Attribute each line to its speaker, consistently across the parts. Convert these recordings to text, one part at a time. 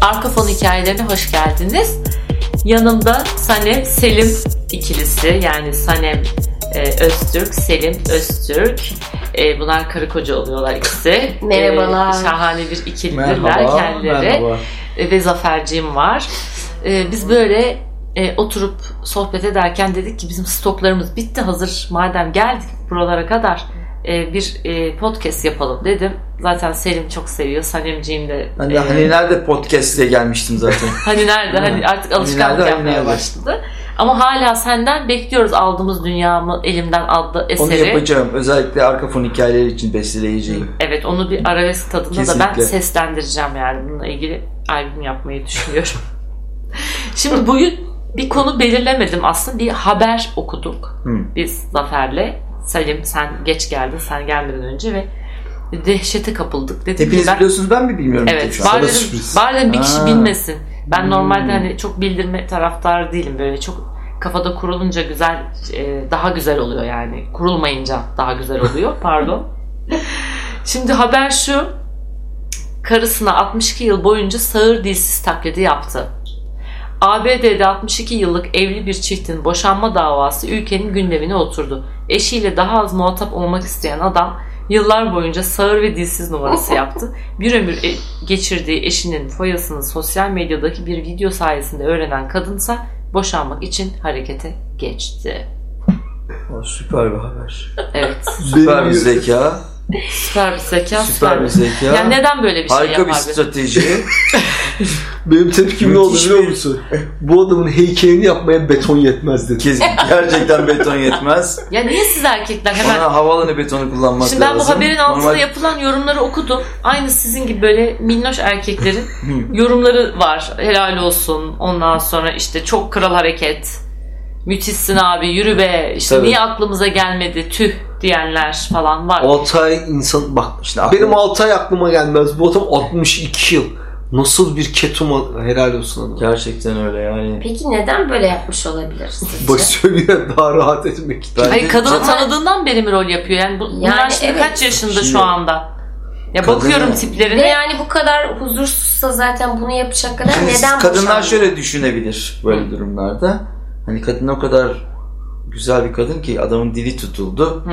Speaker 1: Arka fon hikayelerine hoş geldiniz. Yanımda Sanem Selim ikilisi yani Sanem e, Öztürk, Selim Öztürk. E, bunlar karı koca oluyorlar ikisi.
Speaker 2: Merhabalar.
Speaker 1: E, şahane bir ikilidirler
Speaker 3: Merhaba.
Speaker 1: kendileri.
Speaker 3: Merhaba.
Speaker 1: E, ve Zaferciğim var. E, biz böyle e, oturup sohbet ederken dedik ki bizim stoklarımız bitti hazır madem geldik buralara kadar e, bir e, podcast yapalım dedim. Zaten Selim çok seviyor. Sanemciğim de
Speaker 3: Ben de
Speaker 1: e,
Speaker 3: hani nerede podcast diye gelmiştim zaten.
Speaker 1: Hani nerede? Hani artık alışkanlık
Speaker 3: nerede, hani
Speaker 1: yapmaya
Speaker 3: nerede?
Speaker 1: başladı. Ama hala senden bekliyoruz aldığımız dünyamı elimden adlı
Speaker 3: Onu
Speaker 1: eseri.
Speaker 3: yapacağım. Özellikle arka fon hikayeleri için besteleyeceğim.
Speaker 1: evet onu bir arabesk tadında da ben
Speaker 3: Kesinlikle.
Speaker 1: seslendireceğim yani bununla ilgili albüm yapmayı düşünüyorum. Şimdi bugün bir konu belirlemedim aslında. Bir haber okuduk
Speaker 3: Hı.
Speaker 1: biz Zafer'le. Selim sen geç geldin, sen gelmeden önce ve dehşete kapıldık. Dedim ki
Speaker 3: Hepiniz
Speaker 1: ben-
Speaker 3: biliyorsunuz ben mi bilmiyorum tek
Speaker 1: Evet.
Speaker 3: şu an.
Speaker 1: Bari dedim,
Speaker 4: sürpriz.
Speaker 1: bari dedim bir kişi
Speaker 3: Ha.
Speaker 1: bilmesin. Ben
Speaker 3: Hmm.
Speaker 1: normalde hani çok bildirme taraftarı değilim. Böyle çok kafada kurulunca güzel, e, daha güzel oluyor yani. Kurulmayınca daha güzel oluyor. Pardon. Şimdi haber şu. Karısına 62 yıl boyunca sağır dilsiz taklidi yaptı. ABD'de 62 yıllık evli bir çiftin boşanma davası ülkenin gündemine oturdu. Eşiyle daha az muhatap olmak isteyen adam yıllar boyunca sağır ve dilsiz numarası yaptı. Bir ömür e- geçirdiği eşinin foyasını sosyal medyadaki bir video sayesinde öğrenen kadınsa boşanmak için harekete geçti.
Speaker 3: Aa, süper bir haber.
Speaker 1: Evet.
Speaker 3: Süper bir zeka.
Speaker 1: Süper bir zeka.
Speaker 3: Süper bir zeka.
Speaker 1: Ya neden böyle bir şey
Speaker 3: Harika bir
Speaker 1: yapar? bir-
Speaker 3: strateji.
Speaker 4: Benim tepkim ne oldu
Speaker 3: Müthiş
Speaker 4: biliyor
Speaker 3: bir-
Speaker 4: musun? Bu adamın heykelini yapmaya beton yetmez dedi.
Speaker 3: Kes- Gerçekten beton yetmez.
Speaker 1: Ya niye siz erkekler hemen
Speaker 3: Ona havalanı betonu kullanmak
Speaker 1: Şimdi ben bu
Speaker 3: lazım.
Speaker 1: haberin altında
Speaker 3: Normal-
Speaker 1: yapılan yorumları okudum. Aynı sizin gibi böyle minnoş erkeklerin
Speaker 3: Hı.
Speaker 1: yorumları var. Helal olsun. Ondan sonra işte çok kral hareket. Müthişsin abi yürü be. İşte
Speaker 3: Tabii.
Speaker 1: niye aklımıza gelmedi tüh diyenler falan var.
Speaker 4: Altay insan bak
Speaker 3: İşte aklı-
Speaker 4: benim Altay aklıma gelmez. Bu adam 62 yıl. Nasıl bir ketuma helal olsun adam.
Speaker 3: Gerçekten öyle yani.
Speaker 2: Peki neden böyle yapmış olabilir sizce?
Speaker 4: Basıyor daha rahat etmek için.
Speaker 3: Ben-
Speaker 1: Hayır kadını
Speaker 2: Ama-
Speaker 1: tanıdığından beri mi rol yapıyor? Yani, bu, bunlar
Speaker 2: Yani
Speaker 1: şimdi
Speaker 2: evet.
Speaker 1: kaç yaşında
Speaker 3: Şimdi-
Speaker 1: şu anda? Ya
Speaker 3: Kadını-
Speaker 1: bakıyorum tiplerine.
Speaker 2: Ve yani bu kadar huzursuzsa zaten bunu yapacak kadar
Speaker 3: Şimdi
Speaker 2: neden
Speaker 3: kadınlar
Speaker 2: boşandı?
Speaker 3: şöyle düşünebilir böyle durumlarda. Hani kadın o kadar güzel bir kadın ki adamın dili tutuldu.
Speaker 1: Hı.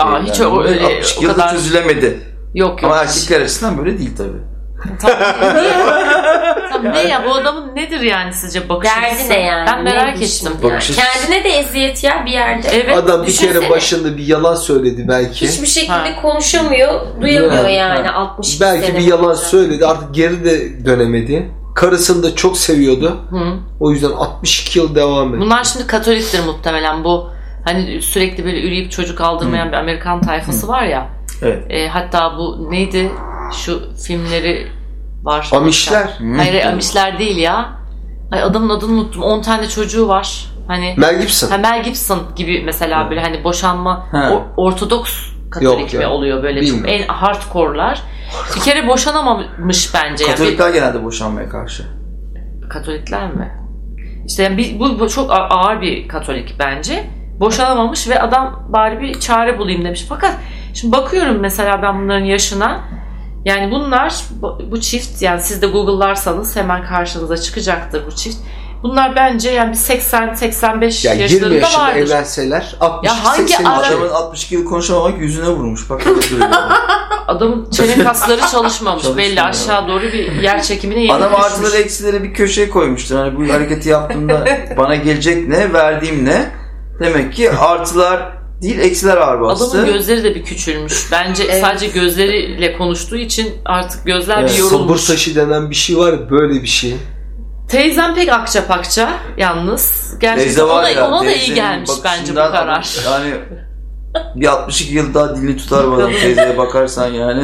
Speaker 1: Aa, hiç o, öyle,
Speaker 3: 60
Speaker 1: o
Speaker 3: yılda
Speaker 1: kadar
Speaker 3: çözülemedi.
Speaker 1: yok yok.
Speaker 3: Ama erkekler açısından böyle değil tabii.
Speaker 1: Tamam, niye? Tamam, ne ya bu adamın nedir yani sizce bakış
Speaker 2: Derdi
Speaker 1: açısı?
Speaker 2: ne yani?
Speaker 1: Ben merak
Speaker 2: Ne
Speaker 1: ettim.
Speaker 2: düşünüyor?
Speaker 3: Bakış açısı-
Speaker 2: Kendine de eziyet ya bir yerde.
Speaker 1: Evet.
Speaker 4: adam bir
Speaker 1: düşünsene.
Speaker 4: kere başında bir yalan söyledi belki.
Speaker 2: Hiçbir şekilde
Speaker 1: Ha.
Speaker 2: konuşamıyor, duyamıyor
Speaker 3: Ha,
Speaker 2: yani
Speaker 3: ha.
Speaker 2: 62
Speaker 4: belki
Speaker 2: sene
Speaker 4: bir yalan
Speaker 2: boyunca.
Speaker 4: söyledi. Artık geri de dönemedi. Karısını da çok seviyordu.
Speaker 1: Hı.
Speaker 4: O yüzden 62 yıl devam etti.
Speaker 1: Bunlar şimdi Katoliktir muhtemelen bu. Hani sürekli böyle üreyip çocuk aldırmayan bir Amerikan tayfası var ya.
Speaker 3: Evet.
Speaker 1: E, hatta bu neydi? Şu filmleri var.
Speaker 4: Amişler.
Speaker 1: Hayır e, hayır, Amişler değil ya. Ay adamın adını unuttum. 10 tane çocuğu var. Hani
Speaker 4: Mel Gibson.
Speaker 1: ha, Mel Gibson gibi mesela böyle hani boşanma
Speaker 3: Ha.
Speaker 1: o- ortodoks
Speaker 4: Yok
Speaker 1: Katolik
Speaker 4: ya.
Speaker 1: mi oluyor böyle çok en
Speaker 4: Bilmiyorum.
Speaker 1: hardcore'lar. Bir kere boşanamamış bence. yani. Bir-
Speaker 3: Katolikler genelde boşanmaya karşı.
Speaker 1: Katolikler mi? İşte yani bir- bu, bu çok a- ağır bir Katolik bence. Boşanamamış ve adam bari bir çare bulayım demiş. Fakat şimdi bakıyorum mesela ben bunların yaşına. Yani bunlar bu, bu çift yani siz de Google'larsanız hemen karşınıza çıkacaktır bu çift. Bunlar bence yani bir 80-85
Speaker 4: Ya 20
Speaker 1: yaşlarında
Speaker 4: yaşında
Speaker 1: vardır.
Speaker 4: evlenseler 62
Speaker 1: Ya hangi
Speaker 4: sene
Speaker 1: ara-
Speaker 3: Adamın 62 yıl konuşamamak yüzüne vurmuş. Bak nasıl duruyor.
Speaker 1: Adamın çene kasları çalışmamış.
Speaker 3: Çalışmıyor.
Speaker 1: Belli aşağı doğru bir yer çekimine yeni
Speaker 3: Adam
Speaker 1: düşmüş.
Speaker 3: artıları eksileri bir köşeye koymuştur. Hani bu hareketi yaptığımda bana gelecek ne, verdiğim ne? Demek ki artılar değil eksiler ağır bastı.
Speaker 1: Adamın gözleri de bir küçülmüş. Bence
Speaker 2: Evet.
Speaker 1: sadece gözleriyle konuştuğu için artık gözler bir
Speaker 3: Evet.
Speaker 1: yorulmuş.
Speaker 4: Sabır taşı denen bir şey var ya, böyle bir şey.
Speaker 1: Teyzem pek akça pakça yalnız. Gerçekten
Speaker 3: Teyze var
Speaker 1: ona,
Speaker 3: ya,
Speaker 1: ona da iyi
Speaker 3: teyzenin
Speaker 1: gelmiş bence bu
Speaker 3: bakışından
Speaker 1: karar.
Speaker 3: adam- Yani bir 62 yıl daha dilini tutar bana teyzeye bakarsan yani.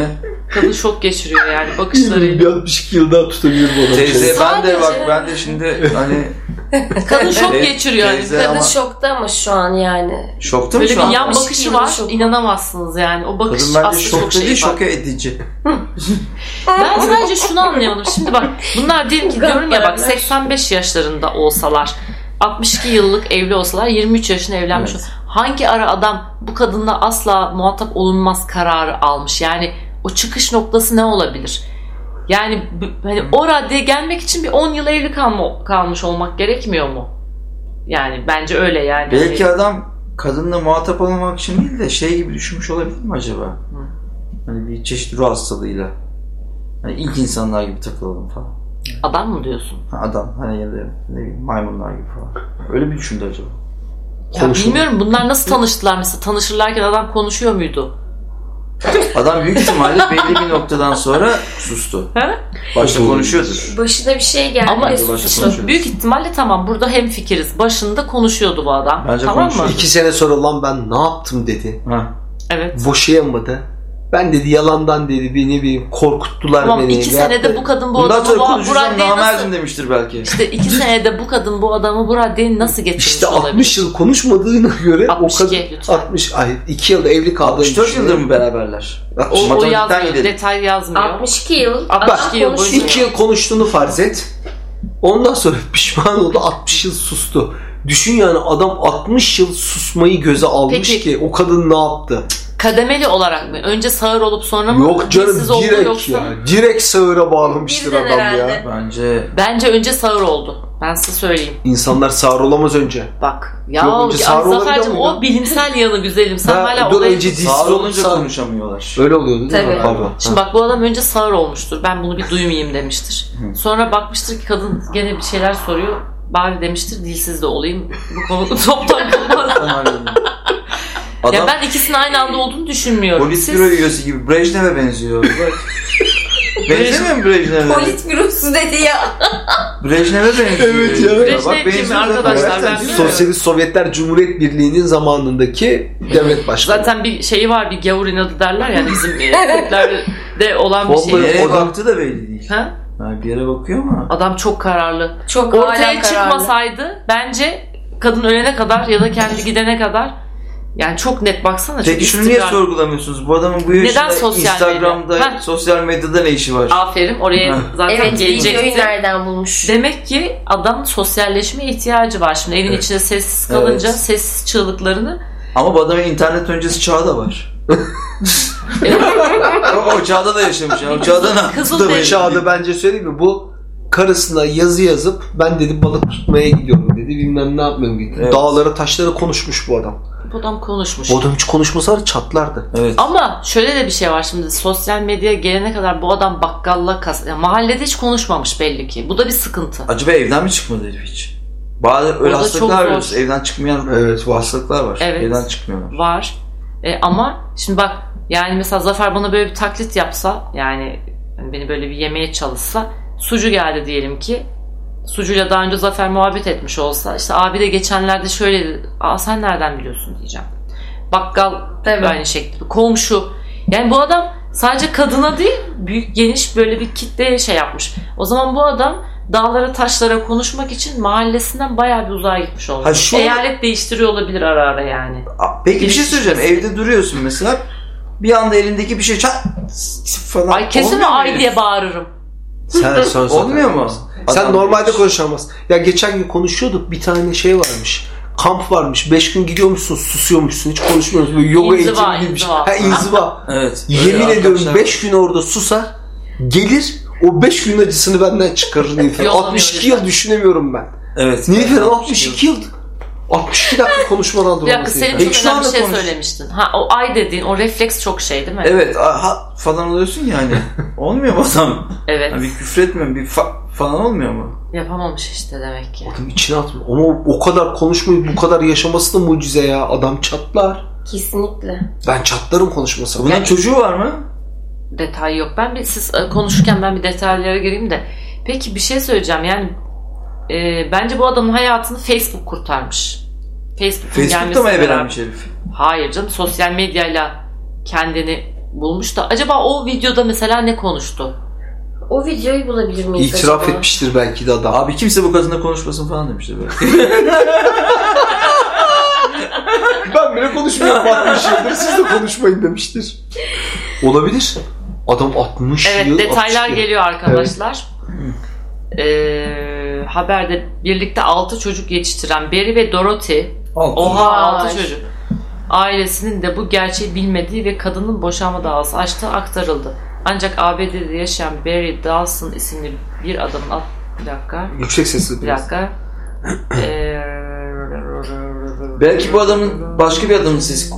Speaker 1: Kadın şok geçiriyor yani
Speaker 4: Bir
Speaker 1: bakışlarıyla.
Speaker 4: 62 yıl daha tutabilirim onu.
Speaker 3: Teyze ben de bak
Speaker 2: Sadece-
Speaker 3: ben de şimdi hani
Speaker 1: Kadın şok
Speaker 3: Teyze-
Speaker 1: geçiriyor yani.
Speaker 3: teyze-
Speaker 2: Kadın
Speaker 3: Ama-
Speaker 2: şokta ama şu an yani.
Speaker 3: şokta mı
Speaker 1: Böyle
Speaker 3: şu
Speaker 1: bir
Speaker 3: an?
Speaker 1: yan
Speaker 2: Şok.
Speaker 1: bakışı var.
Speaker 2: Şok.
Speaker 1: İnanamazsınız yani. O bakış
Speaker 3: Kadın bence
Speaker 1: aslında çok
Speaker 3: şokta
Speaker 1: şey
Speaker 3: değil
Speaker 1: var.
Speaker 3: şoke edici.
Speaker 1: Ben sadece şunu anlayamadım. Şimdi bak bunlar diyelim ki diyorum ya bak
Speaker 2: Gamberler.
Speaker 1: 85 yaşlarında olsalar 62 yıllık evli olsalar 23 yaşında evlenmiş
Speaker 3: Evet.
Speaker 1: olsa- Hangi ara adam bu kadınla asla muhatap olunmaz kararı almış? Yani o çıkış noktası ne olabilir? Yani b- hani o raddeye gelmek için bir 10 yıl evli kalma, kalmış olmak gerekmiyor mu? Yani bence öyle yani.
Speaker 3: Belki adam kadınla muhatap olmak için değil de şey gibi düşünmüş olabilir mi acaba? Hani bir çeşit ruh hastalığıyla. Hani ilk insanlar gibi takılalım falan.
Speaker 1: Hani adam mı diyorsun?
Speaker 3: Ha, Adam hani ya da ne bileyim maymunlar gibi falan. Öyle mi düşündü acaba?
Speaker 1: Ya
Speaker 4: Konuşulur.
Speaker 1: bilmiyorum bunlar nasıl tanıştılar mesela tanışırlarken adam konuşuyor muydu?
Speaker 3: Adam büyük ihtimalle belli bir noktadan sonra sustu.
Speaker 1: He?
Speaker 3: Başta konuşuyordur.
Speaker 2: Başına bir şey geldi.
Speaker 1: Ama
Speaker 2: ve
Speaker 3: Bence başka
Speaker 2: suçlu.
Speaker 3: konuşuyor.
Speaker 1: Şimdi büyük ihtimalle tamam burada hem fikiriz. Başında konuşuyordu bu adam.
Speaker 3: Bence
Speaker 1: tamam mı?
Speaker 3: konuşuyor.
Speaker 4: İki sene sonra lan ben ne yaptım dedi.
Speaker 3: Ha.
Speaker 1: Evet.
Speaker 4: Boşayamadı. Ben dedi yalandan dedi beni ne bileyim korkuttular
Speaker 1: Tamam
Speaker 4: beni.
Speaker 1: iki
Speaker 4: Veyahut da-
Speaker 1: senede bu kadın bu
Speaker 3: Bundan
Speaker 1: adamı
Speaker 3: sonra
Speaker 1: bu, bu
Speaker 3: konuşursam
Speaker 1: raddeye nasıl...
Speaker 3: namerdim demiştir belki.
Speaker 1: İşte iki senede bu kadın bu adamı bu raddeye nasıl getirmiş
Speaker 4: İşte 60
Speaker 1: olabilir?
Speaker 4: yıl konuşmadığına göre o
Speaker 1: 62
Speaker 4: kadın
Speaker 1: lütfen.
Speaker 4: 60 ay 2 yılda evli kaldığını
Speaker 3: 64
Speaker 4: düşünüyorum.
Speaker 3: yıldır mı beraberler?
Speaker 4: Bak,
Speaker 1: O, o
Speaker 3: şey. Matematikten
Speaker 1: yazmıyor.
Speaker 3: gidelim.
Speaker 1: Detay yazmıyor.
Speaker 2: 62 yıl.
Speaker 1: Bak,
Speaker 2: adam
Speaker 1: 62 yıl boyunca-
Speaker 2: konuşuyor.
Speaker 4: 2 yıl konuştuğunu farz et. Ondan sonra pişman oldu 60 yıl sustu. Düşün yani adam 60 yıl susmayı göze almış
Speaker 1: Peki.
Speaker 4: ki o kadın ne yaptı?
Speaker 1: Kademeli olarak mı? Önce sağır olup sonra mı?
Speaker 4: Yok canım
Speaker 1: dilsiz oldu
Speaker 4: direkt
Speaker 1: yoksa-
Speaker 4: ya. Direkt sağıra bağlamıştır
Speaker 2: Birden
Speaker 4: adam ya.
Speaker 2: herhalde.
Speaker 3: Bence
Speaker 1: Bence önce sağır oldu. Ben size söyleyeyim.
Speaker 4: İnsanlar sağır olamaz önce.
Speaker 1: Bak. Ya,
Speaker 4: Yok,
Speaker 1: Yok,
Speaker 4: önce sağır olabiliyor
Speaker 1: Zafer'cim
Speaker 4: muydu?
Speaker 1: o bilimsel yanı güzelim. Sen
Speaker 4: Ha,
Speaker 1: hala
Speaker 4: dur,
Speaker 1: oraya-
Speaker 4: önce dilsiz
Speaker 3: sağır
Speaker 4: olup
Speaker 3: olunca
Speaker 4: sağır-
Speaker 3: konuşamıyorlar.
Speaker 4: Öyle oluyordu değil mi?
Speaker 2: Tabii.
Speaker 4: Pardon.
Speaker 1: Şimdi bak bu adam önce sağır olmuştur. Ben bunu bir duymayayım demiştir. Sonra bakmıştır ki kadın gene bir şeyler soruyor. Bari demiştir dilsiz de olayım. Bu konu toptan kapalı.
Speaker 3: Adam
Speaker 1: ya ben ikisinin aynı anda olduğunu düşünmüyorum.
Speaker 3: polis
Speaker 1: Siz-
Speaker 3: büro üyesi gibi Brejnev'e benziyor. Bak. Benzemiyor mu Brejnev'e?
Speaker 2: Politbürosu dedi ya.
Speaker 3: Brejnev'e benziyor.
Speaker 4: Evet ya.
Speaker 1: Brejnev
Speaker 3: Bak,
Speaker 1: kim
Speaker 3: benziyor zaten.
Speaker 1: arkadaşlar? Ben
Speaker 3: Gerçekten değil mi?
Speaker 1: bilmiyorum.
Speaker 4: Sosyalist Sovyetler Cumhuriyet Birliği'nin zamanındaki devlet başkanı.
Speaker 1: Zaten bir şeyi var bir gavur inadı derler yani bizim Türklerde olan bir şey.
Speaker 4: Vallahi-
Speaker 3: Nereye
Speaker 4: Oradan-
Speaker 3: baktığı da belli değil.
Speaker 1: Ha?
Speaker 3: Ha, bir yere bakıyor ama.
Speaker 1: Adam çok kararlı.
Speaker 2: Çok
Speaker 1: Ortaya
Speaker 2: hala kararlı.
Speaker 1: çıkmasaydı bence kadın ölene kadar ya da kendi gidene kadar yani çok net baksana. çok
Speaker 3: Peki şunu niye
Speaker 1: istikrarlı.
Speaker 3: sorgulamıyorsunuz? Bu adamın bu
Speaker 1: Neden
Speaker 3: yaşında
Speaker 1: sosyal
Speaker 3: Instagram'da,
Speaker 1: medya? Ha.
Speaker 3: sosyal medyada ne işi var?
Speaker 1: Aferin oraya
Speaker 3: Ha.
Speaker 1: zaten
Speaker 2: Evet videoyu
Speaker 1: gelecekti.
Speaker 2: nereden bulmuş?
Speaker 1: Demek ki adam sosyalleşmeye ihtiyacı var. Şimdi evin
Speaker 3: Evet.
Speaker 1: içinde sessiz kalınca
Speaker 3: Evet.
Speaker 1: sessiz çığlıklarını
Speaker 3: Ama bu adamın internet öncesi çağı da var. o, o çağda da yaşamış. ya. O çağda ne
Speaker 1: Kızıl
Speaker 3: yaptı da belli
Speaker 1: Deniz
Speaker 4: Çağda bence söyleyeyim mi? Bu karısına yazı yazıp ben dedi balık tutmaya gidiyorum dedi. Bilmem ne yapmıyorum dedi.
Speaker 3: Evet.
Speaker 4: Dağlara taşlara konuşmuş bu adam.
Speaker 1: bu adam konuşmuş.
Speaker 4: Bu adam hiç konuşmasa var ya, çatlardı.
Speaker 3: Evet.
Speaker 1: Ama şöyle de bir şey var şimdi sosyal medyaya gelene kadar bu adam bakkalla kas yani mahallede hiç konuşmamış belli ki. Bu da bir sıkıntı.
Speaker 3: Acaba evden mi çıkmadı herif hiç? Bazı
Speaker 1: O
Speaker 3: öyle
Speaker 1: da çok
Speaker 3: hastalıklar
Speaker 1: zor.
Speaker 3: var. Evden çıkmayan
Speaker 4: Evet var.
Speaker 3: hastalıklar var.
Speaker 1: Evet.
Speaker 3: Evden çıkmıyorlar.
Speaker 1: Var. E, ama şimdi bak yani mesela Zafer bana böyle bir taklit yapsa yani hani beni böyle bir yemeğe çalışsa sucu geldi diyelim ki sucuyla daha önce Zafer muhabbet etmiş olsa işte abi de geçenlerde şöyle dedi, Aa, sen nereden biliyorsun diyeceğim. Bakkal
Speaker 2: Tabii.
Speaker 1: aynı şekilde komşu yani bu adam sadece kadına değil büyük geniş böyle bir kitleye şey yapmış. O zaman bu adam dağlara taşlara konuşmak için mahallesinden bayağı bir uzağa gitmiş olmuş.
Speaker 3: Ha, şu-
Speaker 1: Eyalet değiştiriyor olabilir ara ara yani.
Speaker 3: Aa, Peki bir şey söyleyeceğim. Evde duruyorsun mesela. Bir anda elindeki bir şey çat falan.
Speaker 1: Ay kesin
Speaker 3: Olmuyor mu
Speaker 1: ay
Speaker 3: herif?
Speaker 1: diye bağırırım.
Speaker 4: Sen, sen
Speaker 3: Olmuyor mu?
Speaker 4: Sen
Speaker 3: Adam-
Speaker 4: normalde konuşamaz. Ya geçen gün konuşuyorduk bir tane şey varmış. Kamp varmış. 5 gün gidiyormuşsun, susuyormuşsun. Hiç konuşmuyorsun. Böyle yoga
Speaker 1: İnziva,
Speaker 4: eğitimi gibi bir şey.
Speaker 1: inziva.
Speaker 4: Ha inziva.
Speaker 3: Evet.
Speaker 4: Yemin
Speaker 3: Öyle
Speaker 4: ediyorum
Speaker 3: arkadaşlar-
Speaker 4: 5 gün orada susar, gelir o 5 gün acısını benden çıkarır Nilüfer.
Speaker 1: Yollamıyor
Speaker 4: 62
Speaker 1: lütfen.
Speaker 4: yıl düşünemiyorum ben.
Speaker 3: Evet.
Speaker 4: Nilüfer 62 yıl 62 dakika konuşmadan
Speaker 1: Bir dakika
Speaker 4: duramaz
Speaker 1: senin
Speaker 4: Nilüfer. E,
Speaker 1: çok
Speaker 3: Peki şu
Speaker 1: önemli bir
Speaker 3: anda
Speaker 1: şey
Speaker 3: konuş.
Speaker 1: söylemiştin. Ha o ay dediğin o refleks çok şey değil mi?
Speaker 3: Evet a- ha falan oluyorsun yani. olmuyor mu adam?
Speaker 1: Evet.
Speaker 3: Yani Hani bir küfretme bir fa- falan olmuyor mu?
Speaker 1: Yapamamış işte demek ki.
Speaker 4: Adam içine atmıyor. Ama o- o kadar konuşmayı bu kadar yaşaması da mucize ya. Adam çatlar.
Speaker 2: Kesinlikle.
Speaker 4: Ben çatlarım konuşmasa.
Speaker 3: Bunun çocuğu var mı?
Speaker 1: Detay yok. Ben bir siz e, konuşurken ben bir detaylara gireyim de. Peki bir şey söyleyeceğim yani e, bence bu adamın hayatını Facebook kurtarmış. Facebook'un
Speaker 3: Facebook'ta
Speaker 1: gelmesi
Speaker 3: mı ebelenmiş herif?
Speaker 1: Hayır canım sosyal medyayla kendini bulmuş da acaba o videoda mesela ne konuştu?
Speaker 2: O videoyu bulabilir miyiz
Speaker 4: İtiraf
Speaker 2: acaba?
Speaker 4: etmiştir belki de adam.
Speaker 3: Abi kimse bu kadınla konuşmasın falan demişti böyle.
Speaker 4: ben bile konuşmuyorum 60 yıldır siz de konuşmayın demiştir. Olabilir. Adam 60
Speaker 1: Evet
Speaker 4: yıl.
Speaker 1: detaylar
Speaker 4: 62 yıl.
Speaker 1: geliyor arkadaşlar. Ee, haberde birlikte 6 çocuk yetiştiren Barry ve Dorothy.
Speaker 3: Al.
Speaker 1: Oha
Speaker 2: Vay.
Speaker 1: 6 çocuk. Ailesinin de bu gerçeği bilmediği ve kadının boşanma davası açtığı aktarıldı. Ancak ABD'de yaşayan Barry Dawson isimli bir adamın at... Bir dakika.
Speaker 4: Yüksek sesli
Speaker 1: Bir
Speaker 4: biraz.
Speaker 1: dakika. Ee,
Speaker 3: Belki bu adamın başka bir adamın ses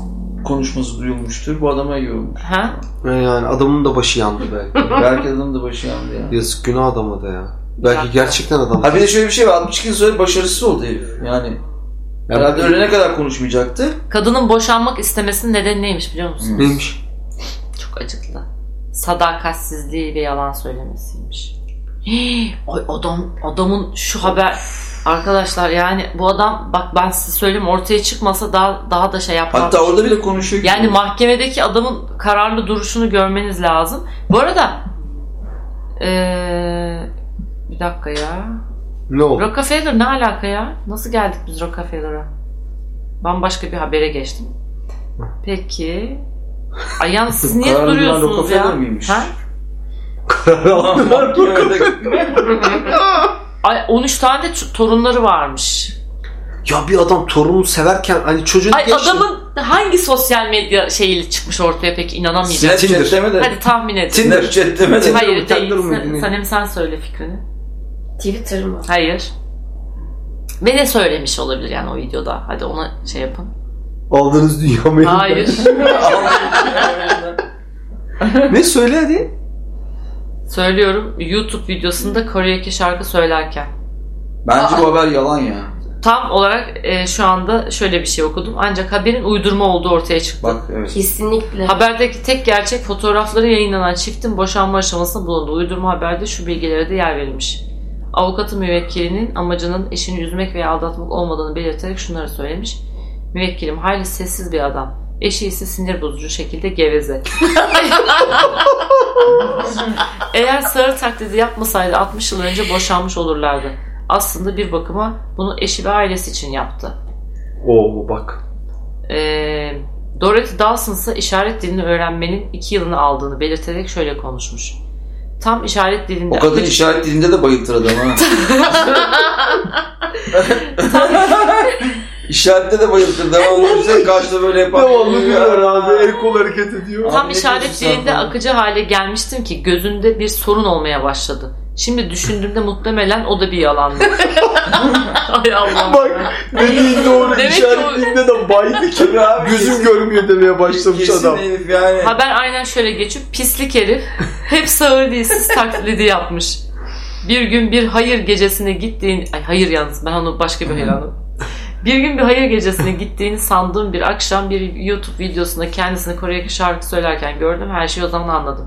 Speaker 3: konuşması duyulmuştur. Bu adama yiyormuş.
Speaker 1: Ha?
Speaker 4: E Yani adamın da başı yandı belki.
Speaker 3: Belki adamın da başı yandı ya.
Speaker 4: Yazık günah adama da ya. Belki gerçekten adam.
Speaker 3: Ha bir de şöyle bir şey var. 62 yıl sonra başarısız oldu herif. Yani herhalde ölene kadar konuşmayacaktı.
Speaker 1: Kadının boşanmak istemesinin nedeni neymiş biliyor musun?
Speaker 4: Neymiş?
Speaker 1: Çok acıklı. Sadakatsizliği ve yalan söylemesiymiş. Hii, Ay adam adamın şu haber arkadaşlar yani bu adam bak ben size söyleyeyim ortaya çıkmasa daha daha da şey yapmaz.
Speaker 3: Hatta orada bile konuşuyor. ki-
Speaker 1: Yani mahkemedeki adamın kararlı duruşunu görmeniz lazım. Bu arada eee, bir dakika ya.
Speaker 4: Ne oldu?
Speaker 1: Rockefeller ne alaka ya? Nasıl geldik biz Rockefeller'a? Bambaşka bir habere geçtim. Peki. Ay yalnız siz niye
Speaker 3: Kararlılar
Speaker 1: duruyorsunuz ya?
Speaker 3: Rockefeller miymiş?
Speaker 1: Ha?
Speaker 4: Karar
Speaker 3: Ulan
Speaker 4: aldılar.
Speaker 3: mahkemede-
Speaker 1: Ay 13 tane de ç- torunları varmış.
Speaker 4: Ya bir adam torunu severken hani çocuğunu
Speaker 1: Ay
Speaker 4: geçti.
Speaker 1: adamın hangi sosyal medya şeyiyle çıkmış ortaya peki inanamayacağım.
Speaker 3: Snapchat'leme de.
Speaker 1: Hadi tahmin edin.
Speaker 3: Tinder. Snapchat'leme de.
Speaker 1: Hayır
Speaker 4: Tinder
Speaker 1: değil.
Speaker 4: mı?
Speaker 1: Sen,
Speaker 4: Ne?
Speaker 1: Sanem sen söyle fikrini.
Speaker 2: Twitter mı?
Speaker 1: Hayır. Ve ne söylemiş olabilir yani o videoda? Hadi ona şey yapın.
Speaker 4: Aldığınız dünya mı?
Speaker 1: Hayır.
Speaker 4: ne söyle hadi.
Speaker 1: Söylüyorum YouTube videosunda Kore'deki şarkı söylerken.
Speaker 3: Bence bu haber yalan ya.
Speaker 1: Tam olarak e, şu anda şöyle bir şey okudum. Ancak haberin uydurma olduğu ortaya çıktı.
Speaker 3: Bak evet.
Speaker 2: Kesinlikle.
Speaker 1: Haberdeki tek gerçek fotoğrafları yayınlanan çiftin boşanma aşamasında bulunduğu uydurma haberde şu bilgilere de yer verilmiş. Avukatı müvekkilinin amacının eşini üzmek veya aldatmak olmadığını belirterek şunları söylemiş. Müvekkilim hayli sessiz bir adam. Eşi ise sinir bozucu şekilde geveze. Eğer sarı taklidi yapmasaydı 60 yıl önce boşanmış olurlardı. Aslında bir bakıma bunu eşi ve ailesi için yaptı.
Speaker 4: Oo bak.
Speaker 1: Ee, Dorothy Dawson ise işaret dilini öğrenmenin iki yılını aldığını belirterek şöyle konuşmuş. Tam işaret dilinde
Speaker 3: O kadın işaret dilinde de bayıltır adam ha. İşaretle de bayıltır. Devamlı bize karşıda böyle yapar.
Speaker 4: kol hareket ediyor.
Speaker 1: tam
Speaker 3: ne
Speaker 1: işaret
Speaker 3: diyorsun sen
Speaker 1: dilinde
Speaker 3: falan?
Speaker 1: akıcı hale gelmiştim ki gözümde bir sorun olmaya başladı. Şimdi düşündüğümde muhtemelen o da bir yalandı. Ay Allah'ım.
Speaker 4: Bak dediğin doğru
Speaker 1: Demek ki
Speaker 4: işaretliğinde de baydı ki
Speaker 3: abi,
Speaker 4: gözüm
Speaker 3: kesin-
Speaker 4: görmüyor demeye başlamış
Speaker 3: Kesin
Speaker 4: adam.
Speaker 3: herif yani.
Speaker 1: Haber aynen şöyle geçip pislik herif hep sağır dilsiz taklidi yapmış. Bir gün bir hayır gecesine gittiğin... Ay hayır yalnız ben onu başka bir hayır anladım. Bir gün bir hayır gecesine gittiğini sandığım bir akşam bir YouTube videosunda kendisini Kore'deki şarkı söylerken gördüm. Her şeyi o zaman anladım.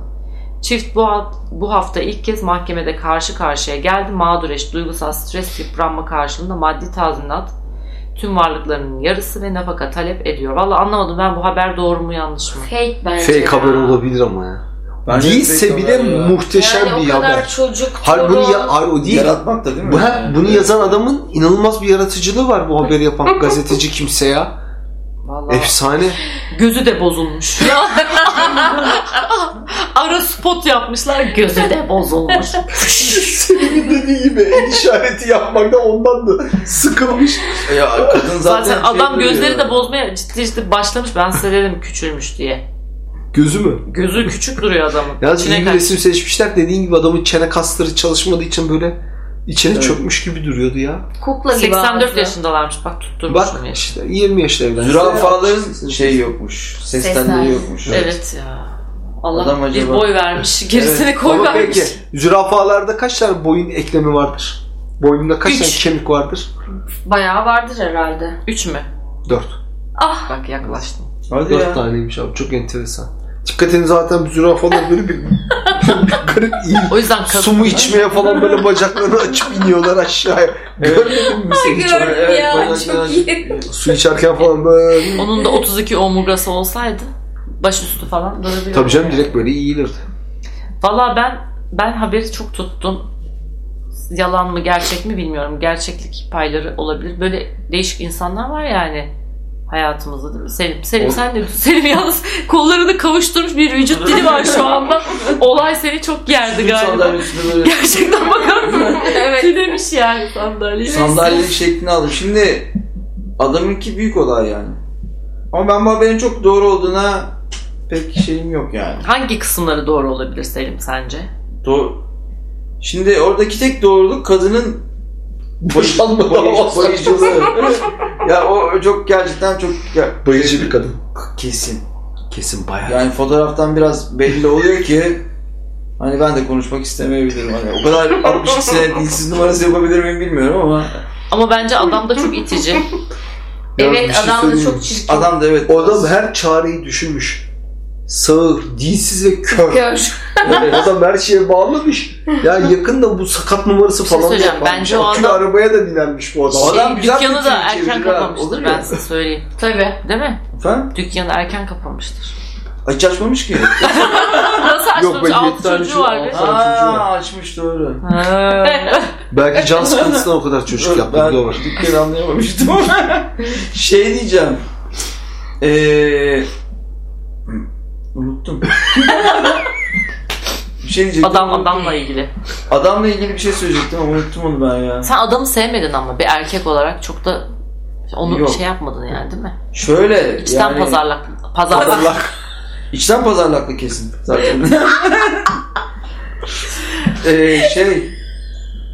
Speaker 1: Çift bu, ha- bu hafta ilk kez mahkemede karşı karşıya geldi. Mağdur eş duygusal stres yıpranma karşılığında maddi tazminat tüm varlıklarının yarısı ve nafaka talep ediyor. Valla anlamadım ben bu haber doğru mu yanlış mı?
Speaker 2: Fake bence.
Speaker 4: Fake haber
Speaker 2: ya.
Speaker 4: olabilir ama ya.
Speaker 3: Bence
Speaker 4: Değilse
Speaker 3: fake
Speaker 4: bile
Speaker 3: haber ya.
Speaker 4: muhteşem
Speaker 2: yani
Speaker 4: bir
Speaker 2: o kadar
Speaker 4: haber.
Speaker 2: çocuk,
Speaker 4: Hayır bunu ya, hayır, o değil.
Speaker 3: Yaratmak da değil mi?
Speaker 4: Bu, ha, bunu yazan adamın inanılmaz bir yaratıcılığı var bu haberi yapan gazeteci kimse ya.
Speaker 1: Vallahi.
Speaker 4: Efsane.
Speaker 1: Gözü de bozulmuş. Ara spot yapmışlar gözü de bozulmuş.
Speaker 4: Senin dediği gibi el işareti yapmaktan ondan da sıkılmış.
Speaker 3: Ya kadın zaten,
Speaker 1: Zaten adam
Speaker 3: şey
Speaker 1: gözleri
Speaker 3: duruyor.
Speaker 1: de bozmaya ciddi ciddi başlamış. Ben size dedim küçülmüş diye.
Speaker 4: Gözü mü?
Speaker 1: Gözü küçük duruyor adamın.
Speaker 4: Yalnız
Speaker 1: İçine
Speaker 4: iyi bir
Speaker 1: kaç-
Speaker 4: resim seçmişler. Dediğin gibi adamın çene kasları çalışmadığı için böyle içine
Speaker 3: Evet.
Speaker 4: çökmüş gibi duruyordu ya.
Speaker 2: Kukla gibi
Speaker 1: 84
Speaker 2: ağzı.
Speaker 1: yaşındalarmış bak tutturmuş
Speaker 4: Bak
Speaker 1: onu yaş.
Speaker 4: işte 20 yaşında evlendi.
Speaker 3: Zürafaların şeyi şey yokmuş. Seslenleri
Speaker 2: Sesler.
Speaker 3: yokmuş.
Speaker 1: Evet ya. Allah
Speaker 3: Adam
Speaker 1: bir
Speaker 3: acaba-
Speaker 1: boy vermiş. Gerisini
Speaker 3: Evet,
Speaker 1: koy
Speaker 4: Ama
Speaker 1: vermiş.
Speaker 4: peki zürafalarda kaç tane boyun eklemi vardır? Boynunda kaç
Speaker 1: Üç.
Speaker 4: tane kemik vardır?
Speaker 2: Bayağı vardır herhalde.
Speaker 1: 3 mü?
Speaker 4: Dört.
Speaker 2: Ah
Speaker 1: Bak yaklaştım.
Speaker 3: Hadi
Speaker 4: Dört
Speaker 3: ya.
Speaker 4: taneymiş abi. Çok enteresan. Dikkatini zaten zürafalar böyle bir, bir garip iyi.
Speaker 1: O yüzden kadın...
Speaker 4: Su mu içmeye falan böyle bacaklarını açıp iniyorlar aşağıya. Görmedin mi sen hiç?
Speaker 2: gördüm
Speaker 3: Evet,
Speaker 2: ya
Speaker 3: bayağı şey
Speaker 2: çok
Speaker 3: güzel.
Speaker 2: iyi.
Speaker 4: Su içerken falan böyle.
Speaker 1: Onun da 32 omurgası olsaydı başüstü falan durabilirdi.
Speaker 4: Tabii canım direkt böyle eğilirdi.
Speaker 1: Valla ben ben haberi çok tuttum. Yalan mı gerçek mi bilmiyorum. Gerçeklik payları olabilir. Böyle değişik insanlar var yani hayatımızda değil mi? Selim, Selim
Speaker 3: Ol-
Speaker 1: sen de Selim yalnız kollarını kavuşturmuş bir vücut dili var şu anda. Olay seni çok gerdi galiba.
Speaker 3: Sandalye üstüne böyle
Speaker 1: Gerçekten bakar mısın?
Speaker 2: evet.
Speaker 1: Tünemiş yani sandalye.
Speaker 3: sandalyenin şeklini aldım. Şimdi adamınki büyük olay yani. Ama ben bu haberin çok doğru olduğuna pek şeyim yok yani.
Speaker 1: Hangi kısımları doğru olabilir Selim sence?
Speaker 3: Doğru. Şimdi oradaki tek doğruluk kadının
Speaker 4: Boşanma
Speaker 3: bayı-
Speaker 4: davası.
Speaker 3: bayıcılığı. ya o çok gerçekten çok ya-
Speaker 4: Bayıcı bir kadın.
Speaker 3: kesin.
Speaker 4: Kesin bayağı.
Speaker 3: Yani fotoğraftan biraz belli oluyor ki hani ben de konuşmak istemeyebilirim. Hani o kadar 62 sene dilsiz numarası yapabilir miyim bilmiyorum ama
Speaker 1: Ama bence adam da çok itici.
Speaker 4: Ya bir
Speaker 2: evet
Speaker 4: şey
Speaker 2: adam da
Speaker 4: söyleyeyim
Speaker 2: çok
Speaker 4: mi?
Speaker 2: çirkin.
Speaker 3: adam da evet.
Speaker 4: O adam her çareyi düşünmüş. Sağır, dilsiz ve kör.
Speaker 2: Gör.
Speaker 4: Yani Hani adam her şeye bağlamış. Ya yakında bu sakat numarası
Speaker 1: şey
Speaker 4: falan
Speaker 1: söyleyeceğim.
Speaker 4: yapmamış.
Speaker 1: Bence o
Speaker 4: Akülü
Speaker 1: adam-
Speaker 4: arabaya da binenmiş bu adam.
Speaker 3: Şey- Adam
Speaker 1: Şey,
Speaker 3: güzel
Speaker 1: dükkanı
Speaker 3: fikir
Speaker 1: da
Speaker 3: çevirir ha,
Speaker 1: erken
Speaker 3: olur
Speaker 1: kapamıştır
Speaker 3: ya.
Speaker 1: ben size söyleyeyim.
Speaker 2: Tabii.
Speaker 1: Değil mi?
Speaker 3: Efendim?
Speaker 1: Dükkanı erken kapamıştır.
Speaker 3: Aç açmamış ki.
Speaker 1: Nasıl
Speaker 4: Yok,
Speaker 1: açmamış?
Speaker 4: ben
Speaker 1: Altı
Speaker 4: yedi tane
Speaker 1: çocuğu
Speaker 4: çocuğu
Speaker 1: var be.
Speaker 4: aldım.
Speaker 3: Aa açmış doğru.
Speaker 1: Ha.
Speaker 4: Belki can sıkıntısından o kadar çocuk yaptı.
Speaker 3: ben
Speaker 4: bir de o var.
Speaker 3: dükkanı anlayamamıştım. şey diyeceğim. Ee, unuttum. bir şey diyecektim.
Speaker 1: Adam
Speaker 3: unuttum.
Speaker 1: adamla ilgili.
Speaker 3: Adamla ilgili bir şey söyleyecektim ama unuttum onu ben ya.
Speaker 1: Sen adamı sevmedin ama bir erkek olarak çok da onu
Speaker 3: Yok.
Speaker 1: şey yapmadın yani değil mi?
Speaker 3: Şöyle
Speaker 1: İçten
Speaker 3: yani.
Speaker 1: pazarlık. Pazarlık.
Speaker 3: Pazarlak. İçten pazarlaklı kesin zaten. Ee, şey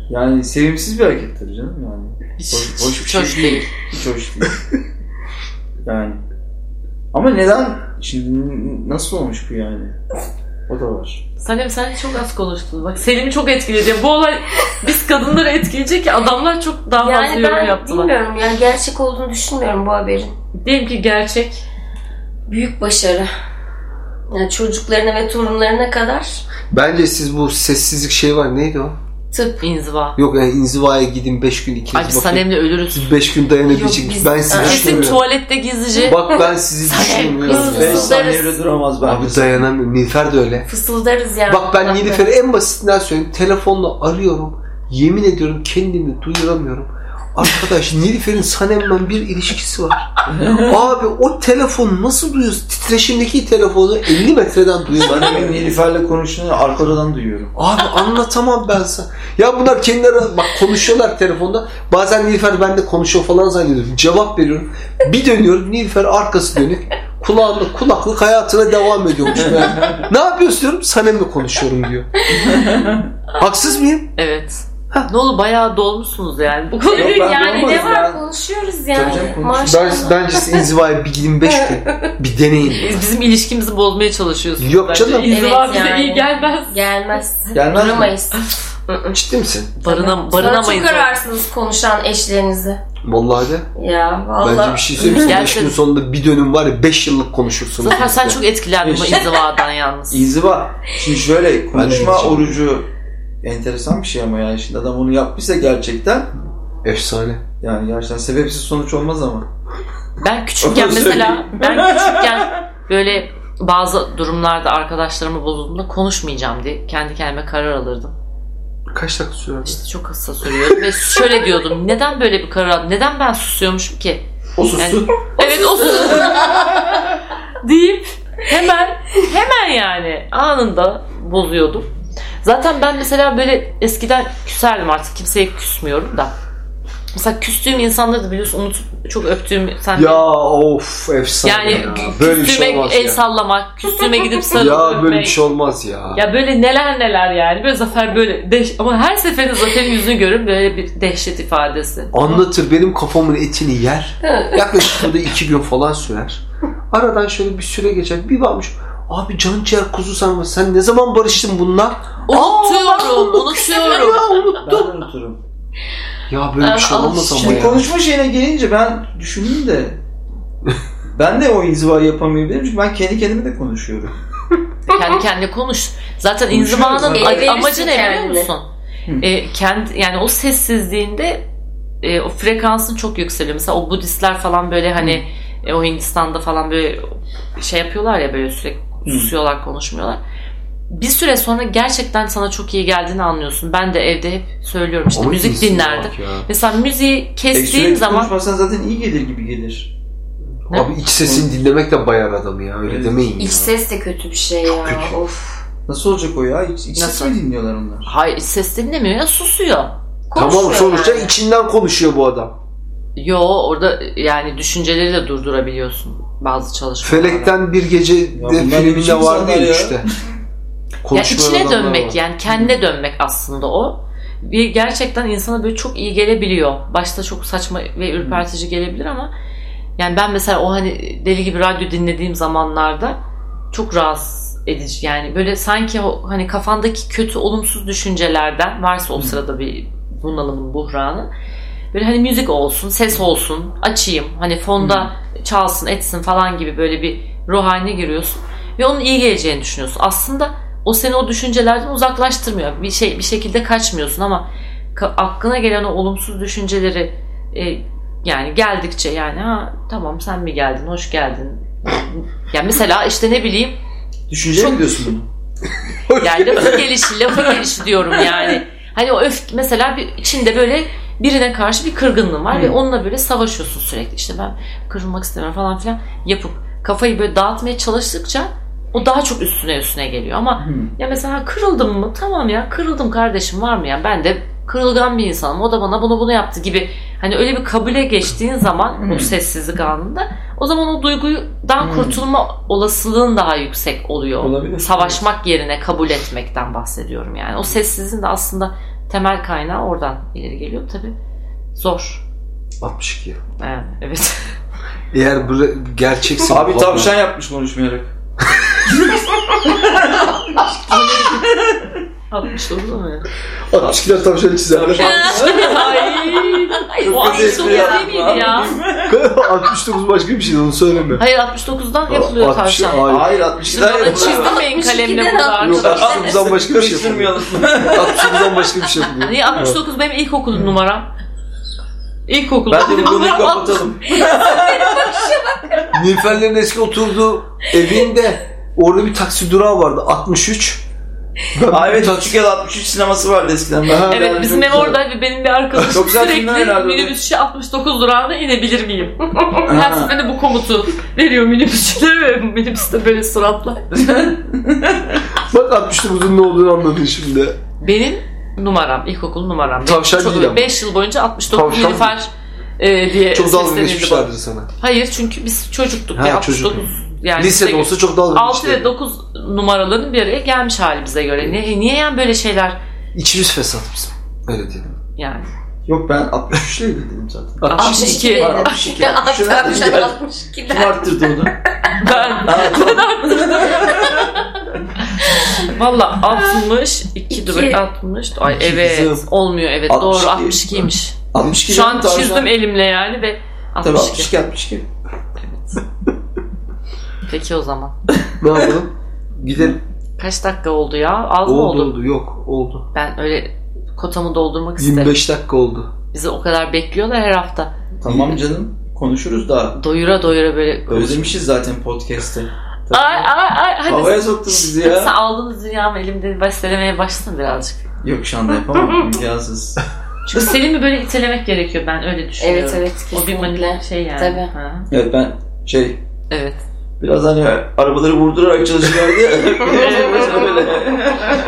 Speaker 3: yani sevimsiz bir hareket tabii canım yani.
Speaker 1: Hiç,
Speaker 3: Boş-
Speaker 1: hiç,
Speaker 3: boş bir şey
Speaker 1: hoş
Speaker 3: değil.
Speaker 1: değil.
Speaker 3: Hiç hoş değil. yani. Ama neden? Şimdi nasıl olmuş bu yani? O da var.
Speaker 1: Salim sen çok az konuştun. Bak Selim'i çok etkileyecek. Bu olay biz kadınları etkileyecek ki adamlar çok daha fazla
Speaker 2: Yani
Speaker 1: yorum
Speaker 2: ben
Speaker 1: yaptılar.
Speaker 2: bilmiyorum yani gerçek olduğunu düşünmüyorum bu haberin.
Speaker 1: Diyelim ki gerçek.
Speaker 2: Büyük başarı. Yani çocuklarına ve torunlarına kadar
Speaker 4: Bence siz bu sessizlik şey var neydi o?
Speaker 2: tıp.
Speaker 1: inziva.
Speaker 4: Yok yani inzivaya gidin 5 gün ikiniz
Speaker 1: Ay biz
Speaker 4: bakın.
Speaker 1: Sanem'le ölürüz.
Speaker 4: Siz 5 gün
Speaker 2: Yok,
Speaker 4: dayanabilecek.
Speaker 2: biz-
Speaker 4: Ben sizi
Speaker 2: Kesin
Speaker 1: Kesin
Speaker 4: düşünmüyorum.
Speaker 1: tuvalette gizlice.
Speaker 4: Bak ben sizi düşünmüyorum.
Speaker 2: kızız.
Speaker 4: Ben-
Speaker 3: 5
Speaker 2: Fısıldarız.
Speaker 3: saniyede duramaz ben.
Speaker 4: Abi dayanamıyorum. Nilüfer de öyle.
Speaker 2: Fısıldarız yani.
Speaker 4: Bak ben Nilüfer'i en basitinden söyleyeyim. Telefonla arıyorum. Yemin ediyorum kendimi duyuramıyorum. Arkadaş Nilüfer'in Sanem'le bir ilişkisi var. Abi o telefon nasıl duyuyorsun? Titreşimdeki telefonu 50 metreden duyuyorum.
Speaker 3: Ben bugün Nilüfer'le konuştuğunu arka odadan duyuyorum.
Speaker 4: Abi anlatamam ben sana. Ya bunlar kendileri bak konuşuyorlar telefonda. Bazen Nilüfer bende konuşuyor falan zannediyorum. Cevap veriyorum. Bir dönüyorum Nilüfer arkası dönük. Kulağında kulaklık hayatına devam ediyormuş. Yani, ne yapıyorsun diyorum. Sanem'le konuşuyorum diyor. Haksız mıyım?
Speaker 1: Evet. Ne oldu bayağı dolmuşsunuz yani. Bu
Speaker 2: Evet,
Speaker 1: konuyu
Speaker 3: ben
Speaker 2: yani ne
Speaker 3: olmaz
Speaker 2: var
Speaker 3: ya.
Speaker 2: konuşuyoruz
Speaker 3: Tabii canım,
Speaker 2: yani.
Speaker 3: konuşuyoruz.
Speaker 4: Ben,
Speaker 2: Maşallah.
Speaker 4: bence siz inzivaya bir gidin 5 gün. Bir deneyin.
Speaker 1: biz- bizim ilişkimizi bozmaya çalışıyorsunuz.
Speaker 4: Yok
Speaker 1: bence.
Speaker 4: canım.
Speaker 1: İnziva
Speaker 2: Evet
Speaker 1: bize
Speaker 2: yani.
Speaker 1: iyi gelmez.
Speaker 2: Gelmez.
Speaker 3: Gelmez mi?
Speaker 2: Duramayız.
Speaker 4: Ciddi misin?
Speaker 1: Barına,
Speaker 2: Sonra çok
Speaker 1: barınamayız.
Speaker 2: ararsınız konuşan eşlerinizi.
Speaker 4: Vallahi de.
Speaker 2: Ya
Speaker 4: Bence
Speaker 2: valla.
Speaker 4: bir şey söyleyeyim. 5
Speaker 1: Gerçekten.
Speaker 4: gün sonunda bir dönüm var ya 5 yıllık konuşursunuz.
Speaker 1: Zaten sen çok etkilendin bu
Speaker 3: İşte.
Speaker 1: inzivadan yalnız.
Speaker 3: İzi var. Şimdi şöyle konuşma
Speaker 4: Ben de-
Speaker 3: orucu enteresan bir şey ama yani şimdi adam onu yapmışsa gerçekten
Speaker 4: Efsane.
Speaker 3: yani gerçekten sebepsiz sonuç olmaz ama.
Speaker 1: Ben küçükken
Speaker 3: Onu
Speaker 1: mesela
Speaker 3: söyleyeyim.
Speaker 1: ben küçükken böyle bazı durumlarda arkadaşlarımı bozulduğumda konuşmayacağım diye kendi kendime karar alırdım.
Speaker 4: Kaç dakika sürer?
Speaker 1: İşte çok kısa sürüyor ve şöyle diyordum. Neden böyle bir karar aldım? Neden ben susuyormuşum ki?
Speaker 3: O sussun.
Speaker 1: Evet o deyip hemen hemen yani anında bozuyordum. Zaten ben mesela böyle eskiden küserdim artık kimseye küsmüyorum da. Mesela küstüğüm insanları da biliyorsun unutup çok öptüğüm sen de-
Speaker 4: Ya of efsane
Speaker 1: yani
Speaker 4: ya.
Speaker 1: kü-
Speaker 4: Böyle bir
Speaker 1: küstüğüme
Speaker 4: şey olmaz
Speaker 1: el
Speaker 4: ya.
Speaker 1: sallamak, küstüğüme gidip sarılıp
Speaker 4: Ya böyle bir
Speaker 1: öpmek.
Speaker 4: şey olmaz ya.
Speaker 1: Ya böyle neler neler yani. Böyle Zafer böyle deş- ama her seferinde Zafer'in yüzünü görün böyle bir dehşet ifadesi.
Speaker 4: Anlatır benim kafamın etini yer. Yaklaşık burada iki gün falan sürer. Aradan şöyle bir süre geçer. Bir bakmış. Abi can ciğer kuzu sarma. Sen ne zaman barıştın bununla?
Speaker 1: Unutuyorum, unutuyorum.
Speaker 4: Ya unut.
Speaker 3: Ben de unuturum.
Speaker 4: Ya
Speaker 1: Ah,
Speaker 4: böyle bir şey
Speaker 2: Aa,
Speaker 4: olmaz ama
Speaker 3: Şimdi
Speaker 4: ya.
Speaker 3: konuşma şeyine gelince ben düşündüm de ben de o inzivayı yapamayabilirim çünkü ben kendi kendime de konuşuyorum.
Speaker 1: Kendi kendine konuş. Zaten
Speaker 3: Konuşuyoruz
Speaker 1: inzivanın
Speaker 3: zaten.
Speaker 1: a-
Speaker 2: Verirsin
Speaker 1: amacı ne biliyor
Speaker 2: kendini.
Speaker 1: musun? E, kendi, yani o sessizliğinde e, o frekansın çok yükseliyor. Mesela o Budistler falan böyle hani e, o Hindistan'da falan böyle şey yapıyorlar ya böyle sürekli
Speaker 3: Hı.
Speaker 1: susuyorlar konuşmuyorlar. Bir süre sonra gerçekten sana çok iyi geldiğini anlıyorsun. Ben de evde hep söylüyorum işte
Speaker 4: Ama
Speaker 1: müzik
Speaker 4: insanlığa
Speaker 1: dinlerdim.
Speaker 4: bak ya.
Speaker 1: Mesela müziği
Speaker 3: E,
Speaker 1: kestiğim
Speaker 3: sürekli
Speaker 1: zaman
Speaker 3: konuşmasan zaten iyi gelir gibi gelir.
Speaker 1: Ne?
Speaker 4: Abi iç sesini dinlemek de bayar adamı ya. Öyle
Speaker 3: Evet.
Speaker 4: demeyin ya.
Speaker 2: İç ses de kötü bir şey ya.
Speaker 4: kötü.
Speaker 2: Of.
Speaker 3: Nasıl olacak o ya? Hiç, hiç ses
Speaker 1: Nasıl?
Speaker 3: mi dinliyorlar onlar?
Speaker 1: hayır ses dinlemiyor ya susuyor.
Speaker 4: Tamam
Speaker 2: Konuşmuyor
Speaker 4: sonuçta
Speaker 2: yani.
Speaker 4: içinden konuşuyor bu adam.
Speaker 1: Yo orada yani düşünceleri de durdurabiliyorsun. bazı çalışmalar.
Speaker 4: Felekten bir gece
Speaker 3: bunlar
Speaker 4: de
Speaker 3: ne biçim
Speaker 4: filminde var
Speaker 3: insanlar
Speaker 4: değil
Speaker 3: ya?
Speaker 4: işte.
Speaker 1: Ya
Speaker 4: Konuşmayan
Speaker 1: içine
Speaker 4: adamlar
Speaker 1: dönmek
Speaker 4: var.
Speaker 1: yani kendine dönmek aslında o. Bir gerçekten insana böyle çok iyi gelebiliyor. Başta çok saçma ve ürpertici gelebilir ama yani ben mesela o hani deli gibi radyo dinlediğim zamanlarda çok rahatsız edici. Yani böyle sanki o hani kafandaki kötü olumsuz düşüncelerden varsa o sırada bir bunalımın buhranı böyle hani müzik olsun, ses olsun, açayım. Hani fonda çalsın, etsin falan gibi böyle bir ruh haline giriyorsun ve onun iyi geleceğini düşünüyorsun. Aslında o seni o düşüncelerden uzaklaştırmıyor. Bir şey bir şekilde kaçmıyorsun ama ka- aklına gelen o olumsuz düşünceleri e, yani geldikçe yani ha tamam sen mi geldin, hoş geldin. Ya mesela işte ne bileyim
Speaker 3: Düşünceye
Speaker 1: Çok-
Speaker 3: mi diyorsun bunu?
Speaker 1: yani lafı gelişi, lafı gelişi diyorum yani. Hani o öfke mesela bir, içinde böyle birine karşı bir kırgınlığın var ve
Speaker 3: Hı.
Speaker 1: onunla böyle savaşıyorsun sürekli. İşte ben kırılmak istemiyorum falan filan yapıp kafayı böyle dağıtmaya çalıştıkça o daha çok üstüne üstüne geliyor. Ama
Speaker 3: Hı.
Speaker 1: ya mesela kırıldım mı? Tamam ya kırıldım kardeşim var mı ya? Ben de kırılgan bir insanım. O da bana bunu bunu yaptı gibi. Hani öyle bir kabule geçtiğin zaman
Speaker 3: Hı.
Speaker 1: o sessizlik anında o zaman o duygudan
Speaker 3: Hı.
Speaker 1: kurtulma olasılığın daha yüksek oluyor
Speaker 3: Olabilir.
Speaker 1: savaşmak yerine kabul etmekten bahsediyorum yani. O sessizliğin de aslında temel kaynağı oradan ileri geliyor tabi. Zor.
Speaker 4: 62.
Speaker 1: Yani, evet.
Speaker 4: Eğer bu gerçekse
Speaker 3: Abi tavşan yapmış konuşmayarak.
Speaker 1: 69 mu?
Speaker 4: 62'ler tavşan çizerler.
Speaker 1: Ay, o
Speaker 3: Çok
Speaker 1: 69
Speaker 3: güzel espri
Speaker 1: değil miydi ya?
Speaker 4: 69 başka bir şey onu söyleme.
Speaker 1: Hayır 69'dan yapılıyor
Speaker 4: 60
Speaker 1: tavşan.
Speaker 4: Hayır.
Speaker 3: Hayır 62 daha
Speaker 1: Bunu
Speaker 3: yapılır.
Speaker 1: çizdim en kalemle
Speaker 2: Yok,
Speaker 1: burada arkadaşlar.
Speaker 4: 69'dan dan başka bir şey yapılmıyor.
Speaker 3: Sıkıştırmayalım.
Speaker 4: 69'dan başka bir şey yapılmıyor.
Speaker 1: Niye 69 benim ilkokul numaram. İlkokul
Speaker 3: Ben de bunu
Speaker 1: numaram.
Speaker 3: kapatalım.
Speaker 4: Nilüferlerin eski oturduğu evinde orada bir taksi durağı vardı 63. Ben
Speaker 3: Aa, evet Küçükel 63 sineması vardı eskiden. Ben
Speaker 4: Ha.
Speaker 1: Evet bizim ev orada ve benim bir arkadaşım
Speaker 3: Çok güzel filmler
Speaker 1: sürekli
Speaker 3: herhalde.
Speaker 1: minibüsçe 69 durağına inebilir miyim? Her seferinde bu komutu veriyor minibüsçülere ve minibüste böyle suratlar.
Speaker 4: Bak 69'un ne olduğunu anladın şimdi.
Speaker 1: Benim numaram, ilkokul numaram.
Speaker 4: Tavşan değil ama.
Speaker 1: 5 yıl boyunca 69
Speaker 4: Tavşan
Speaker 1: Nilüfer e, diye
Speaker 4: Çok dalga
Speaker 1: seslenirdi
Speaker 4: geçmişlerdi
Speaker 1: bana.
Speaker 4: sana.
Speaker 1: Hayır çünkü biz çocuktuk.
Speaker 4: Ha,
Speaker 1: ya,
Speaker 4: çocuk.
Speaker 1: 69 yani
Speaker 4: Lisede
Speaker 1: bize-
Speaker 4: olsa çok dalga
Speaker 1: 6 ve
Speaker 4: geçmişlerdi.
Speaker 1: 9 numaraların bir araya gelmiş hali bize göre. Niye, niye yani böyle şeyler
Speaker 4: İçimiz fesat bizim. Öyle diyelim.
Speaker 1: yani.
Speaker 3: Yok ben 63'lüydü dedim zaten.
Speaker 1: 62.
Speaker 2: 62.
Speaker 3: Var, 62.
Speaker 2: Tavşan
Speaker 3: Şuna-
Speaker 2: 62'den.
Speaker 3: Kim arttırdı onu?
Speaker 1: Ben
Speaker 3: Ha, tamam.
Speaker 1: Valla 62 dur
Speaker 2: İki.
Speaker 1: 60 ay
Speaker 3: İki
Speaker 1: evet
Speaker 3: kızım.
Speaker 1: olmuyor evet
Speaker 3: 62.
Speaker 1: doğru 62'ymiş.
Speaker 3: 62
Speaker 1: Şu an
Speaker 3: tavşan.
Speaker 1: çizdim elimle yani ve
Speaker 3: Tabii
Speaker 1: 62.
Speaker 3: 62 62.
Speaker 1: Peki o zaman.
Speaker 4: Ne yapalım? Gidelim.
Speaker 1: Kaç dakika oldu ya? Az mı
Speaker 4: Oldu
Speaker 1: oldu?
Speaker 4: oldu. Yok oldu.
Speaker 1: Ben öyle kotamı doldurmak isterim.
Speaker 4: 25 dakika oldu.
Speaker 1: Bizi o kadar bekliyorlar her hafta.
Speaker 3: Tamam canım konuşuruz daha.
Speaker 1: Doyura doyura böyle
Speaker 3: Özlemişiz zaten podcast'ı.
Speaker 1: Ay ay ay hadi.
Speaker 3: Havaya soktunuz bizi
Speaker 1: Sen
Speaker 3: ya.
Speaker 1: aldığınız dünyamı elimde bestelemeye başlasın birazcık.
Speaker 3: Yok şu anda yapamam imkansız.
Speaker 1: Çünkü Selim'i böyle itelemek gerekiyor ben öyle düşünüyorum.
Speaker 2: Evet evet
Speaker 1: O bir
Speaker 2: kesinlikle.
Speaker 1: manipüle şey yani.
Speaker 2: Tabii.
Speaker 1: Ha.
Speaker 3: Evet ben şey
Speaker 1: Evet.
Speaker 3: biraz hani arabaları vurdurarak çalışıyorlardı ya.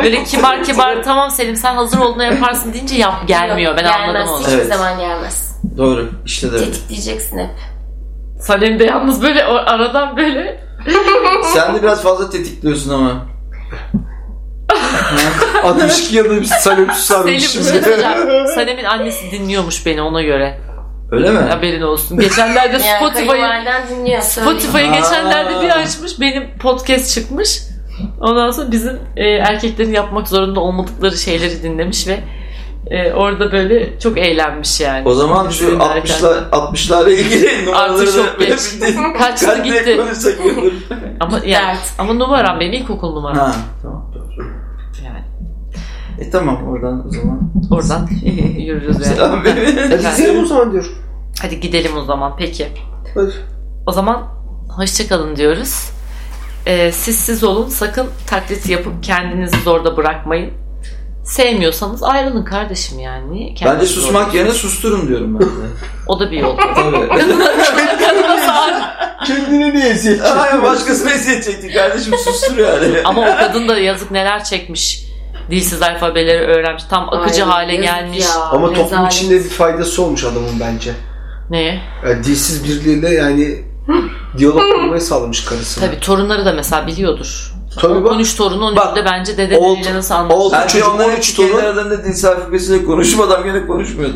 Speaker 1: Böyle kibar kibar tamam Selim sen hazır olduğuna yaparsın deyince yap gelmiyor. Ben
Speaker 2: Gelmez,
Speaker 1: anladım onu.
Speaker 2: Hiçbir
Speaker 3: Evet.
Speaker 2: zaman gelmez.
Speaker 3: Doğru işte de öyle.
Speaker 2: Tetikleyeceksin hep.
Speaker 1: Salim de yalnız böyle o- aradan böyle
Speaker 3: Sen de biraz fazla tetikliyorsun ama.
Speaker 4: 62 yılda biz Salim susarmış.
Speaker 1: Selim bir şey söyleyeceğim. Salim'in annesi dinliyormuş beni ona göre.
Speaker 3: Öyle mi?
Speaker 1: Haberin olsun. Geçenlerde
Speaker 2: Yani hani
Speaker 1: Spotify'ı
Speaker 2: kayınvaliden dinliyor. söylüyor.
Speaker 1: Spotify'ı
Speaker 3: Aa.
Speaker 1: geçenlerde bir açmış benim podcast çıkmış. Ondan sonra bizim e, erkeklerin yapmak zorunda olmadıkları şeyleri dinlemiş ve e, orada böyle çok eğlenmiş yani.
Speaker 3: O zaman şu
Speaker 1: Dinlerken.
Speaker 3: 60'lar 60'larla ilgili numaraları
Speaker 1: Artık çok
Speaker 3: da-
Speaker 1: geç. Kaçtı
Speaker 3: Kalple
Speaker 1: gitti.
Speaker 3: konuşsak iyi olur.
Speaker 1: Ama yani,
Speaker 2: Dert.
Speaker 1: ama numaram benim ilkokul numaram.
Speaker 3: Ha tamam doğru.
Speaker 1: Yani
Speaker 3: E tamam oradan o zaman.
Speaker 1: oradan yürürüz yani.
Speaker 3: Selam be.
Speaker 4: Hadi gidelim o zaman diyor.
Speaker 1: Hadi gidelim o zaman peki.
Speaker 4: Hadi.
Speaker 1: O zaman hoşçakalın diyoruz. Ee, siz siz olun. Sakın taklit yapıp kendinizi zorda bırakmayın. Sevmiyorsanız ayrılın kardeşim yani. Niye
Speaker 3: Bence
Speaker 1: kendinizi
Speaker 3: susmak
Speaker 1: zorda-
Speaker 3: yerine susturun diyorum ben de.
Speaker 1: O da bir yol.
Speaker 3: Tabii.
Speaker 1: Kadına sar.
Speaker 4: Kendini niye eziyet
Speaker 3: Ay başkasına eziyet çekti kardeşim sustur yani.
Speaker 1: Ama o kadın da yazık neler çekmiş. Dilsiz alfabeleri öğrenmiş. Tam akıcı
Speaker 2: Ay,
Speaker 1: hale
Speaker 2: yazık
Speaker 1: gelmiş.
Speaker 2: ya,
Speaker 4: Ama toplum
Speaker 2: rezalet.
Speaker 4: içinde bir faydası olmuş adamın bence.
Speaker 1: Neye?
Speaker 4: Yani dilsiz birliğiyle yani Diyalog kurmayı sağlamış karısına.
Speaker 1: Tabii torunları da mesela biliyordur.
Speaker 4: Tabii bak.
Speaker 1: 13 torunun
Speaker 4: Bak,
Speaker 1: önünde bence dedeleriyle
Speaker 4: oldu-
Speaker 1: nasıl anlaşılır.
Speaker 4: oldu.
Speaker 3: Bence
Speaker 4: çocuk
Speaker 3: onlar
Speaker 4: 13
Speaker 3: hiç kendi
Speaker 4: torun.
Speaker 3: aralarında dil sarfibesiyle konuşmadan gene konuşmuyordu.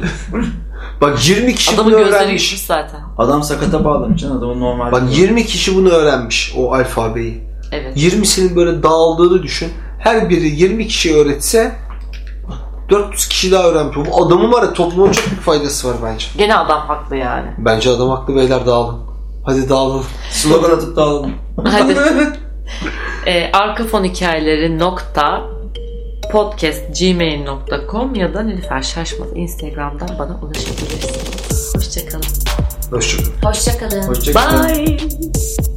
Speaker 4: Bak 20 kişi
Speaker 1: Adamın
Speaker 4: bunu
Speaker 1: gözleri
Speaker 4: öğrenmiş.
Speaker 1: gitmiş zaten.
Speaker 3: Adam sakata bağlamış can adamın normal.
Speaker 4: Bak 20 kişi bunu öğrenmiş o alfabeyi.
Speaker 1: Evet.
Speaker 4: 20'sinin böyle dağıldığını düşün. Her biri 20 kişi öğretse 400 kişi daha öğrenmiş. Bu adamın var ya topluma çok büyük faydası var bence.
Speaker 1: Gene adam haklı yani.
Speaker 4: Bence adam haklı beyler dağılın. Hadi dağılın.
Speaker 3: slogan atıp dağılın.
Speaker 1: Hadi. Ee, arka fon hikayeleri nokta podcast gmail.com ya da Nilüfer Şaşmaz Instagram'dan bana ulaşabilirsiniz. Hoşçakalın.
Speaker 4: Hoşçakalın.
Speaker 2: Hoşçakalın.
Speaker 3: Hoşçakalın.
Speaker 1: Bye.